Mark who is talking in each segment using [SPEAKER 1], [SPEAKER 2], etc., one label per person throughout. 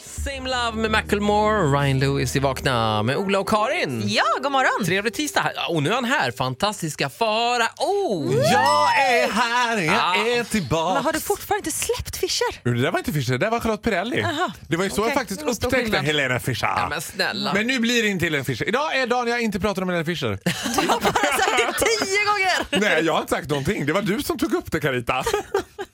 [SPEAKER 1] Same Love med Macklemore, Ryan Lewis i Vakna med Ola och Karin.
[SPEAKER 2] Ja, god morgon!
[SPEAKER 1] Trevlig tisdag. Och nu är han här, fantastiska fara. Oh!
[SPEAKER 3] Jag är här, jag
[SPEAKER 1] Ah.
[SPEAKER 3] är tillbaka.
[SPEAKER 2] Men har du fortfarande inte släppt Fischer?
[SPEAKER 3] Det där var inte Fischer, det där var Charlotte Perrelli. Det var ju så
[SPEAKER 2] okej.
[SPEAKER 3] jag faktiskt
[SPEAKER 2] Det var stor
[SPEAKER 3] upptäckte
[SPEAKER 2] skillnad.
[SPEAKER 3] Helena Fischer.
[SPEAKER 1] Ja, men snälla.
[SPEAKER 3] Men nu blir det inte Helena Fischer. Idag är dagen jag inte pratar om Helena Fischer.
[SPEAKER 2] Du har bara sagt det tio gånger!
[SPEAKER 3] Nej, jag har inte sagt någonting. Det var du som tog upp det Carita.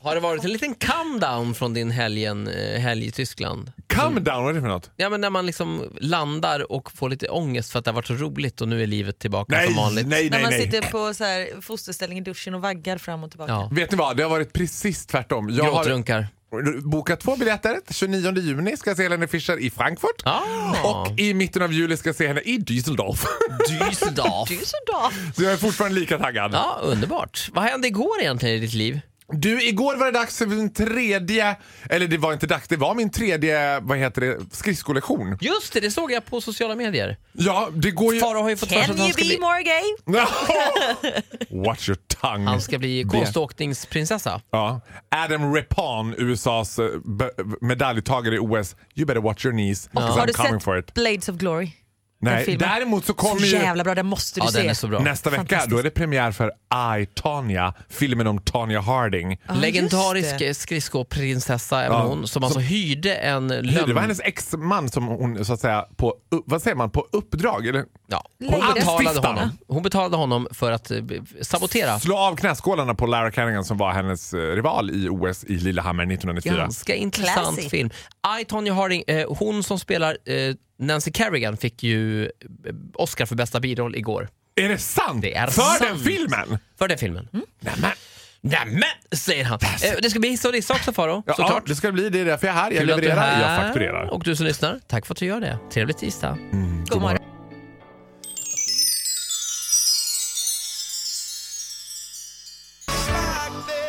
[SPEAKER 1] Har det varit en liten calm down från din helgen, eh, helg i Tyskland?
[SPEAKER 3] Come down, vad är det för något?
[SPEAKER 1] Ja, men när man liksom landar och får lite ångest för att det har varit så roligt och nu är livet tillbaka
[SPEAKER 3] Nej,
[SPEAKER 1] som vanligt.
[SPEAKER 3] nej,
[SPEAKER 2] När
[SPEAKER 3] nej,
[SPEAKER 2] man
[SPEAKER 3] nej.
[SPEAKER 2] sitter på så här fosterställning i duschen och vaggar fram och tillbaka.
[SPEAKER 1] Ja.
[SPEAKER 3] Vet ni vad, det har varit precis tvärtom. Jag har
[SPEAKER 1] Gråtrunkar.
[SPEAKER 3] bokat två biljetter. 29 juni ska jag se Helena Fischer i Frankfurt.
[SPEAKER 1] Ah.
[SPEAKER 3] Och i mitten av juli ska jag se henne i Düsseldorf.
[SPEAKER 2] Du är
[SPEAKER 1] Düsseldorf.
[SPEAKER 2] så dag.
[SPEAKER 3] Så jag är fortfarande lika taggad.
[SPEAKER 1] Ja, underbart. Vad hände igår egentligen i ditt liv?
[SPEAKER 3] Du, igår var det dags för min tredje, eller det var inte dags, det var min tredje, vad heter det, skridskolektion.
[SPEAKER 1] Just det, det såg jag på sociala medier.
[SPEAKER 3] Ja, det går ju...
[SPEAKER 1] Faro har ju fått för sig
[SPEAKER 2] Can
[SPEAKER 1] att han
[SPEAKER 2] you
[SPEAKER 1] ska
[SPEAKER 2] be
[SPEAKER 1] bli,
[SPEAKER 2] more gay?
[SPEAKER 3] Watch your tongue.
[SPEAKER 1] han ska bli konståkningsprinsessa.
[SPEAKER 3] Ja. Adam Repan, USAs eh, be- medaljtagare i OS. You better watch your knees, 'cause
[SPEAKER 2] Har
[SPEAKER 3] I'm
[SPEAKER 2] du
[SPEAKER 3] coming for
[SPEAKER 2] sett
[SPEAKER 3] it.
[SPEAKER 2] Blades of Glory?
[SPEAKER 3] Nej,
[SPEAKER 2] filmen?
[SPEAKER 3] däremot så
[SPEAKER 2] Så
[SPEAKER 3] kommer ju
[SPEAKER 2] jävla bra, den måste du
[SPEAKER 1] Ja, den är så
[SPEAKER 2] se.
[SPEAKER 1] bra.
[SPEAKER 3] nästa vecka, då är det premiär för I, Tanya, filmen om Tanya Harding.
[SPEAKER 2] Ja, just det.
[SPEAKER 1] Legendarisk skridskoprinsessa även
[SPEAKER 3] Ja,
[SPEAKER 1] hon som alltså hyrde en
[SPEAKER 3] Det var
[SPEAKER 1] lögn...
[SPEAKER 3] hennes exman som hon så att säga på, upp- vad säger man, på uppdrag eller?
[SPEAKER 1] Ja, hon,
[SPEAKER 2] Lägger det.
[SPEAKER 1] betalade
[SPEAKER 3] Anstiftan.
[SPEAKER 1] honom. hon betalade honom för att eh, sabotera.
[SPEAKER 3] slå av knäskålarna på Lara Carrington som var hennes eh, rival i OS i Lillehammer 1994.
[SPEAKER 1] Ganska intressant
[SPEAKER 2] Classy.
[SPEAKER 1] film. I, Tonya Harding, eh, hon som spelar eh, Nancy Kerrigan fick ju eh, Oscar för bästa biroll igår.
[SPEAKER 3] Är det sant?
[SPEAKER 1] Det är
[SPEAKER 3] För
[SPEAKER 1] sant.
[SPEAKER 3] den filmen?
[SPEAKER 1] För den filmen.
[SPEAKER 2] Mm.
[SPEAKER 3] Nämen.
[SPEAKER 1] Nämen, säger han. Eh, det ska bli hiss och diss också Faro,
[SPEAKER 3] Ja, ja,
[SPEAKER 1] såklart.
[SPEAKER 3] det ska bli. Det är därför jag är här. Jag
[SPEAKER 1] Kul att du är
[SPEAKER 3] levererar, jag
[SPEAKER 1] här.
[SPEAKER 3] fakturerar.
[SPEAKER 1] Och du som lyssnar, tack för att du gör det. Trevlig tisdag.
[SPEAKER 2] God morgon.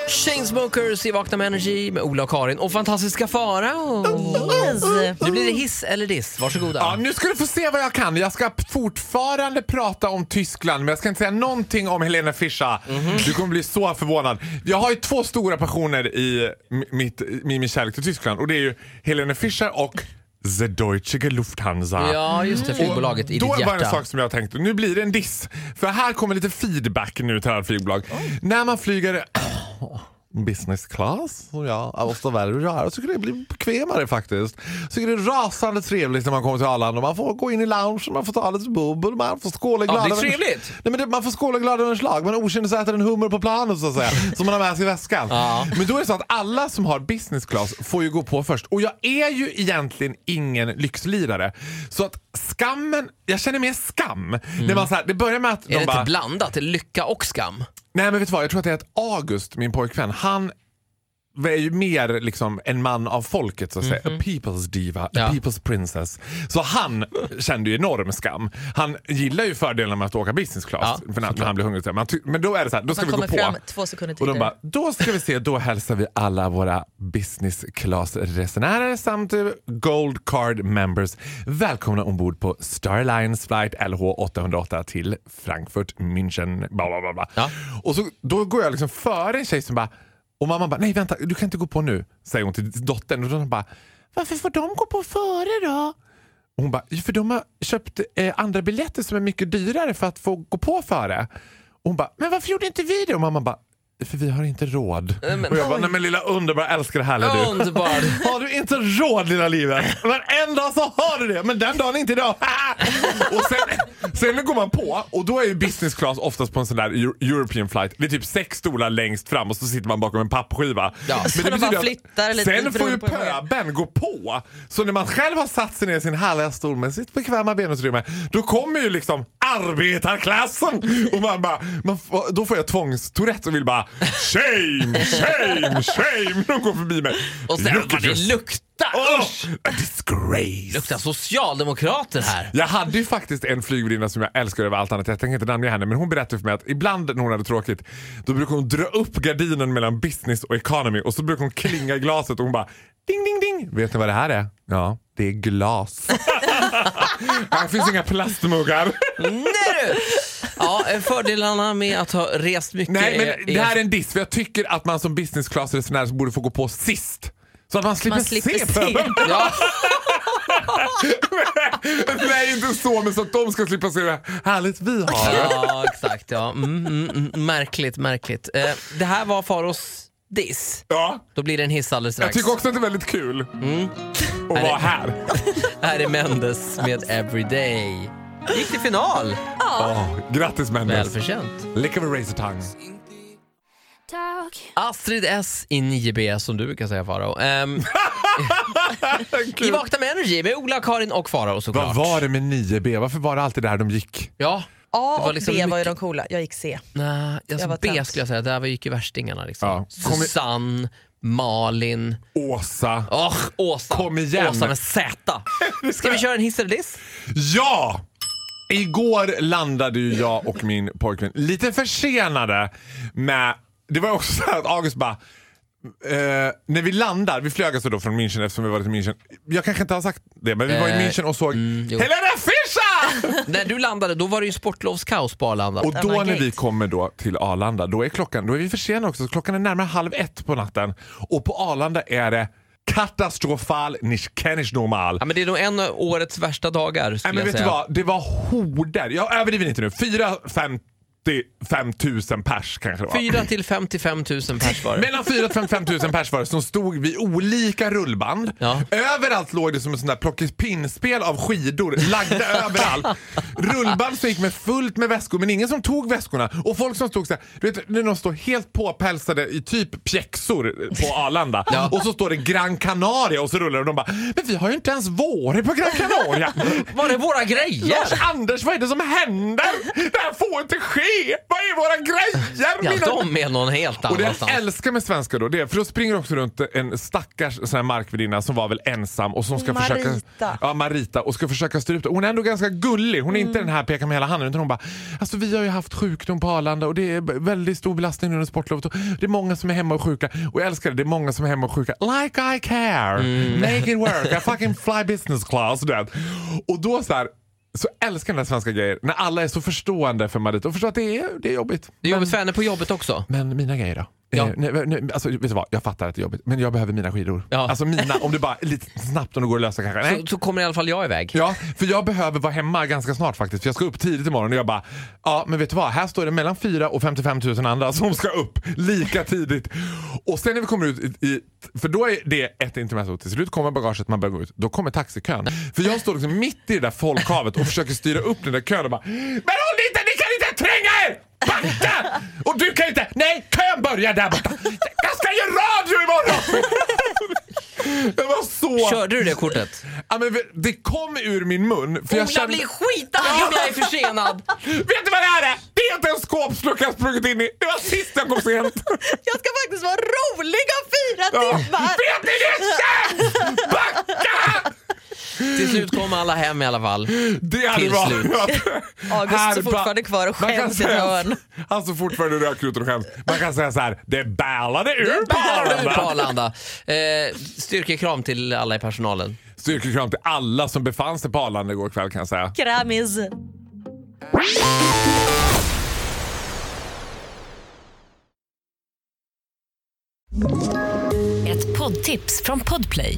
[SPEAKER 1] Chainsmokers i Vakna med Energy med Ola och Karin och fantastiska Farao.
[SPEAKER 2] Yes.
[SPEAKER 1] Nu blir det hiss eller diss, varsågoda.
[SPEAKER 3] Ja, nu ska du få se vad jag kan. Jag ska p- fortfarande prata om Tyskland men jag ska inte säga någonting om Helena Fischer.
[SPEAKER 1] Mhm.
[SPEAKER 3] Du kommer bli så förvånad. Jag har ju två stora passioner i m- mitt, i min kärlek till Tyskland och det är ju Helena Fischer och The Deutsche Lufthansa.
[SPEAKER 1] Ja, just det, flygbolaget i
[SPEAKER 3] Mm. Då
[SPEAKER 1] ditt
[SPEAKER 3] var det en
[SPEAKER 1] hjärta.
[SPEAKER 3] sak som jag tänkte, nu blir det en diss. För här kommer lite feedback nu till alla flygbolag. När man flyger business class, som Oh jag ofta väljer att göra, så tycker det blir bekvämare faktiskt. Så tycker det är rasande trevligt när man kommer till Arlanda. Man får gå in i loungen, man får ta lite bubbel, man får skåla i
[SPEAKER 1] Ja,
[SPEAKER 3] glada
[SPEAKER 1] det är trevligt.
[SPEAKER 3] Nej, men det, man får skåla glada över en slag. Man okynnesäter en hummer på planet så att säga. som man har med sig i väskan.
[SPEAKER 1] Ja.
[SPEAKER 3] Men då är det så att alla som har business class får ju gå på först. Och jag är ju egentligen ingen lyxlirare. Så att skammen, jag känner mer skam. När man så här, det börjar med att
[SPEAKER 1] Mm. Är det
[SPEAKER 3] de bara,
[SPEAKER 1] inte blandat? Lycka och skam?
[SPEAKER 3] nej men vet du vad, jag tror att det är att August, min pojkvän, han är ju mer liksom en man av folket så att säga.
[SPEAKER 2] Mhm.
[SPEAKER 3] A people's diva, a
[SPEAKER 1] Ja.
[SPEAKER 3] people's princess. Så han kände ju enorm skam. Han gillar ju fördelarna med att åka business class
[SPEAKER 1] Ja,
[SPEAKER 3] för när, när han blir hungrig. så här. Men, han ty- men då är det så här, då ska
[SPEAKER 2] Man
[SPEAKER 3] vi gå
[SPEAKER 2] kommer
[SPEAKER 3] på.
[SPEAKER 2] fram två sekunder
[SPEAKER 3] Och de
[SPEAKER 2] tidigare.
[SPEAKER 3] bara, då ska vi se, då hälsar vi alla våra business class-resenärer samt eh, gold card members välkomna ombord på Star Alliance flight LH808 till Frankfurt, München, bla bla bla. bla.
[SPEAKER 1] Ja.
[SPEAKER 3] Och så, då går jag liksom före en tjej som bara, och mamma bara, nej vänta, du kan inte gå på nu, säger hon till dottern. Och hon bara, varför får de gå på före då? Och Hon bara, "Ja, för de har köpt eh, andra biljetter som är mycket dyrare för att få gå på före. Och hon bara, men varför gjorde inte vi det? Och mamma bara, för vi har inte råd.
[SPEAKER 2] Eh,
[SPEAKER 1] men-
[SPEAKER 3] och jag bara, nej men lilla underbara älskade härliga du.
[SPEAKER 1] Underbart!
[SPEAKER 3] Har du inte råd lilla livet? Varenda dag så har du det, men den dagen är inte idag. och sen, sen går man på och då är ju business class oftast på en sån där Eu- European flight. Det är typ sex stolar längst fram och så sitter man bakom en pappskiva.
[SPEAKER 1] Ja.
[SPEAKER 3] Men
[SPEAKER 1] Så
[SPEAKER 3] det
[SPEAKER 2] man
[SPEAKER 3] betyder
[SPEAKER 2] bara
[SPEAKER 3] att
[SPEAKER 2] flyttar lite
[SPEAKER 3] sen får
[SPEAKER 2] beroende
[SPEAKER 3] ju
[SPEAKER 2] på hur man är.
[SPEAKER 3] pöben gå på. Så när man själv har satt sig ner i sin härliga stol med sitt bekväma benutrymme, då kommer ju liksom arbetarklassen. Och man bara, man, får- då får jag tvångstourette och vill bara shame, shame, shame. De går förbi mig.
[SPEAKER 1] Och sen,
[SPEAKER 3] Look
[SPEAKER 1] vad
[SPEAKER 3] at
[SPEAKER 1] det
[SPEAKER 3] this.
[SPEAKER 1] luktar!
[SPEAKER 3] Oh,
[SPEAKER 1] Usch!
[SPEAKER 3] a disgrace.
[SPEAKER 1] Luktar socialdemokrater här.
[SPEAKER 3] Jag hade ju faktiskt en flygvärdinna som jag älskar över allt annat. Jag tänker inte namnge henne, men hon berättade för mig att ibland när hon hade tråkigt, då brukade hon dra upp gardinen mellan business och economy och så brukade hon klinga i glaset och hon bara ding, ding, ding. Vet ni vad det här är? Ja, det är glas. här finns inga plastmuggar.
[SPEAKER 1] Nej du! Ja, eh, fördelarna med att ha rest mycket
[SPEAKER 3] Nej,
[SPEAKER 1] är-
[SPEAKER 3] men det här är en diss för jag tycker att man som business class-resenär borde få gå på sist. Så att man slipper,
[SPEAKER 2] Man slipper se.
[SPEAKER 3] se pöbeln.
[SPEAKER 1] Ja.
[SPEAKER 3] Nej, inte så, men så att de ska slippa se det härligt vi har.
[SPEAKER 1] Ja, exakt. Ja. Mm, mm, mm, märkligt, märkligt. Eh, det här var Faros diss.
[SPEAKER 3] Ja,
[SPEAKER 1] Då blir det en hiss alldeles
[SPEAKER 3] jag
[SPEAKER 1] strax.
[SPEAKER 3] tycker också att det är väldigt kul att vara här.
[SPEAKER 1] Här är Mendes med Everyday. Gick till final.
[SPEAKER 3] Åh, grattis Mendes.
[SPEAKER 1] Välförtjänt.
[SPEAKER 3] Lick of a razor tongue.
[SPEAKER 4] talk.
[SPEAKER 1] Astrid S i 9B som du brukar säga Faro. Ehm, I
[SPEAKER 3] Kul.
[SPEAKER 1] Vakna med Energy med Ola, Karin och Faro såklart.
[SPEAKER 3] Vad var det med 9B? Varför var det alltid där de gick?
[SPEAKER 1] Ja.
[SPEAKER 2] A
[SPEAKER 1] Det
[SPEAKER 2] och
[SPEAKER 1] var
[SPEAKER 2] B
[SPEAKER 1] liksom
[SPEAKER 2] var ju
[SPEAKER 1] mycket-
[SPEAKER 2] de coola, jag gick C.
[SPEAKER 1] Nej, alltså
[SPEAKER 2] Jag var
[SPEAKER 1] B
[SPEAKER 2] tönt.
[SPEAKER 1] skulle jag säga. Där var- gick ju värstingarna. Liksom.
[SPEAKER 3] Ja. Kom i-
[SPEAKER 1] Susanne, Malin,
[SPEAKER 3] Åsa.
[SPEAKER 1] oh, Åsa.
[SPEAKER 3] Kom igen.
[SPEAKER 1] Åsa med Z. Ska vi köra en hiss eller diss?
[SPEAKER 3] Ja! Igår landade ju jag och min pojkvän lite försenade med... Det var också så här att August bara... Eh, när vi landar, vi flög alltså då från München eftersom vi var i München. Jag kanske inte har sagt det, men vi var i
[SPEAKER 1] Eh,
[SPEAKER 3] München och såg
[SPEAKER 1] jo.
[SPEAKER 3] Helena Fischer!
[SPEAKER 1] När du landade då var det ju sportlovskaos på Arlanda.
[SPEAKER 3] Och då
[SPEAKER 2] Denna
[SPEAKER 3] när vi
[SPEAKER 2] gate.
[SPEAKER 3] kommer då till Arlanda, då är klockan, då är vi försenade också. Så Klockan är närmare halv ett på natten och på Arlanda är det katastrofal, nicht kennisch normal.
[SPEAKER 1] Ja, men det är nog en av årets värsta dagar skulle
[SPEAKER 3] Nej, men
[SPEAKER 1] jag
[SPEAKER 3] vet du
[SPEAKER 1] säga.
[SPEAKER 3] vad? Det var horder. Jag överdriver inte nu. 4 55 000 pers kanske det var.
[SPEAKER 1] 4 till 55 000 pers var det.
[SPEAKER 3] Mellan 4 och 55 000 pers var det som stod vid olika rullband.
[SPEAKER 1] Ja.
[SPEAKER 3] Överallt låg det som ett sånt där plockepinnspel av skidor lagda överallt. Rullband som gick med fullt med väskor men ingen som tog väskorna. Och folk som stod så här, du vet när de står helt påpälsade i typ pjäxor på Arlanda och så står det Gran Canaria och så rullar det och de bara “Men vi har ju inte ens våror på Gran Canaria!”
[SPEAKER 1] Var det våra grejer?
[SPEAKER 3] Lars Anders, vad är det som händer? Det här får inte ske! Vad är våra grejer?
[SPEAKER 1] Ja,
[SPEAKER 3] mina-
[SPEAKER 1] de är någon helt
[SPEAKER 3] och det
[SPEAKER 1] annanstans.
[SPEAKER 3] jag älskar med svenskar då, det är, för då springer också runt en stackars sån här markvärdinna som var väl ensam och som ska försöka...
[SPEAKER 2] Marita.
[SPEAKER 3] Ja, Marita. Och ska försöka styra upp det. Hon är ändå ganska gullig. Hon är inte den här peka med hela handen utan hon bara, alltså vi har ju haft sjukdom på Arlanda och det är b- väldigt stor belastning nu under sportlovet och det är många som är hemma och sjuka. Och jag älskar det, det är många som är hemma och sjuka. Like I care! Make it work! I fucking fly business class! Du vet. Och då så här, så älskar jag den här svenska grejer när alla är så förstående för Marita och förstår att det är, det är jobbigt.
[SPEAKER 1] Det är jobbigt för henne på jobbet också.
[SPEAKER 3] Men mina grejer då?
[SPEAKER 1] Ja.
[SPEAKER 3] Eh, nej, nej, alltså, vet du vad? Jag fattar att det är jobbigt, men jag behöver mina skidor.
[SPEAKER 1] Ja.
[SPEAKER 3] Alltså mina, om du bara lite snabbt om det går att lösa kanske. Nej.
[SPEAKER 1] Så, så kommer i alla fall jag iväg.
[SPEAKER 3] Ja, för jag behöver vara hemma ganska snart faktiskt. För jag ska upp tidigt imorgon och jag bara, ja men vet du vad? Här står det mellan 4 och 55 000 andra som ska upp lika tidigt. Och sen när vi kommer ut i, i för då är det ett intermezzo. Till slut kommer bagaget, man börjar gå ut. Då kommer taxikön. För jag står liksom mitt i det där folkhavet och försöker styra upp den där kön och bara, men håll inte, ni kan inte tränga er! Backa! Och du kan inte, nej kön börjar där borta. Jag ska göra radio imorgon! Det var så...
[SPEAKER 1] Körde du det kortet?
[SPEAKER 3] Ja, men det kom ur min mun. För jag
[SPEAKER 1] Ola
[SPEAKER 3] kände,
[SPEAKER 1] blir skitarg om jag är försenad!
[SPEAKER 3] Vet du vad det här är? Det är inte en skåpslucka jag sprungit in i. Det var sist jag kom sent.
[SPEAKER 2] Jag ska faktiskt vara rolig om fyra
[SPEAKER 3] Ja.
[SPEAKER 2] timmar!
[SPEAKER 3] Vet ni det känns? Backa!
[SPEAKER 1] Till slut kom alla hem i alla fall.
[SPEAKER 3] Det hade
[SPEAKER 1] Till
[SPEAKER 3] varit...
[SPEAKER 1] slut.
[SPEAKER 2] August
[SPEAKER 3] Här
[SPEAKER 2] står fortfarande
[SPEAKER 3] ba-
[SPEAKER 2] kvar och
[SPEAKER 3] man kan
[SPEAKER 2] skäms i ett
[SPEAKER 3] säga-
[SPEAKER 2] hörn.
[SPEAKER 3] Han står fortfarande och röker ut och skäms. Man kan säga så här, det bälade ur på
[SPEAKER 1] Nu på
[SPEAKER 3] Arlanda.
[SPEAKER 1] Arlanda. Eh, styrkekram till alla i personalen.
[SPEAKER 3] Styrkekram till alla som befann sig på Arlanda igår kväll kan jag säga.
[SPEAKER 2] Kramis.
[SPEAKER 5] Ett poddtips från Podplay.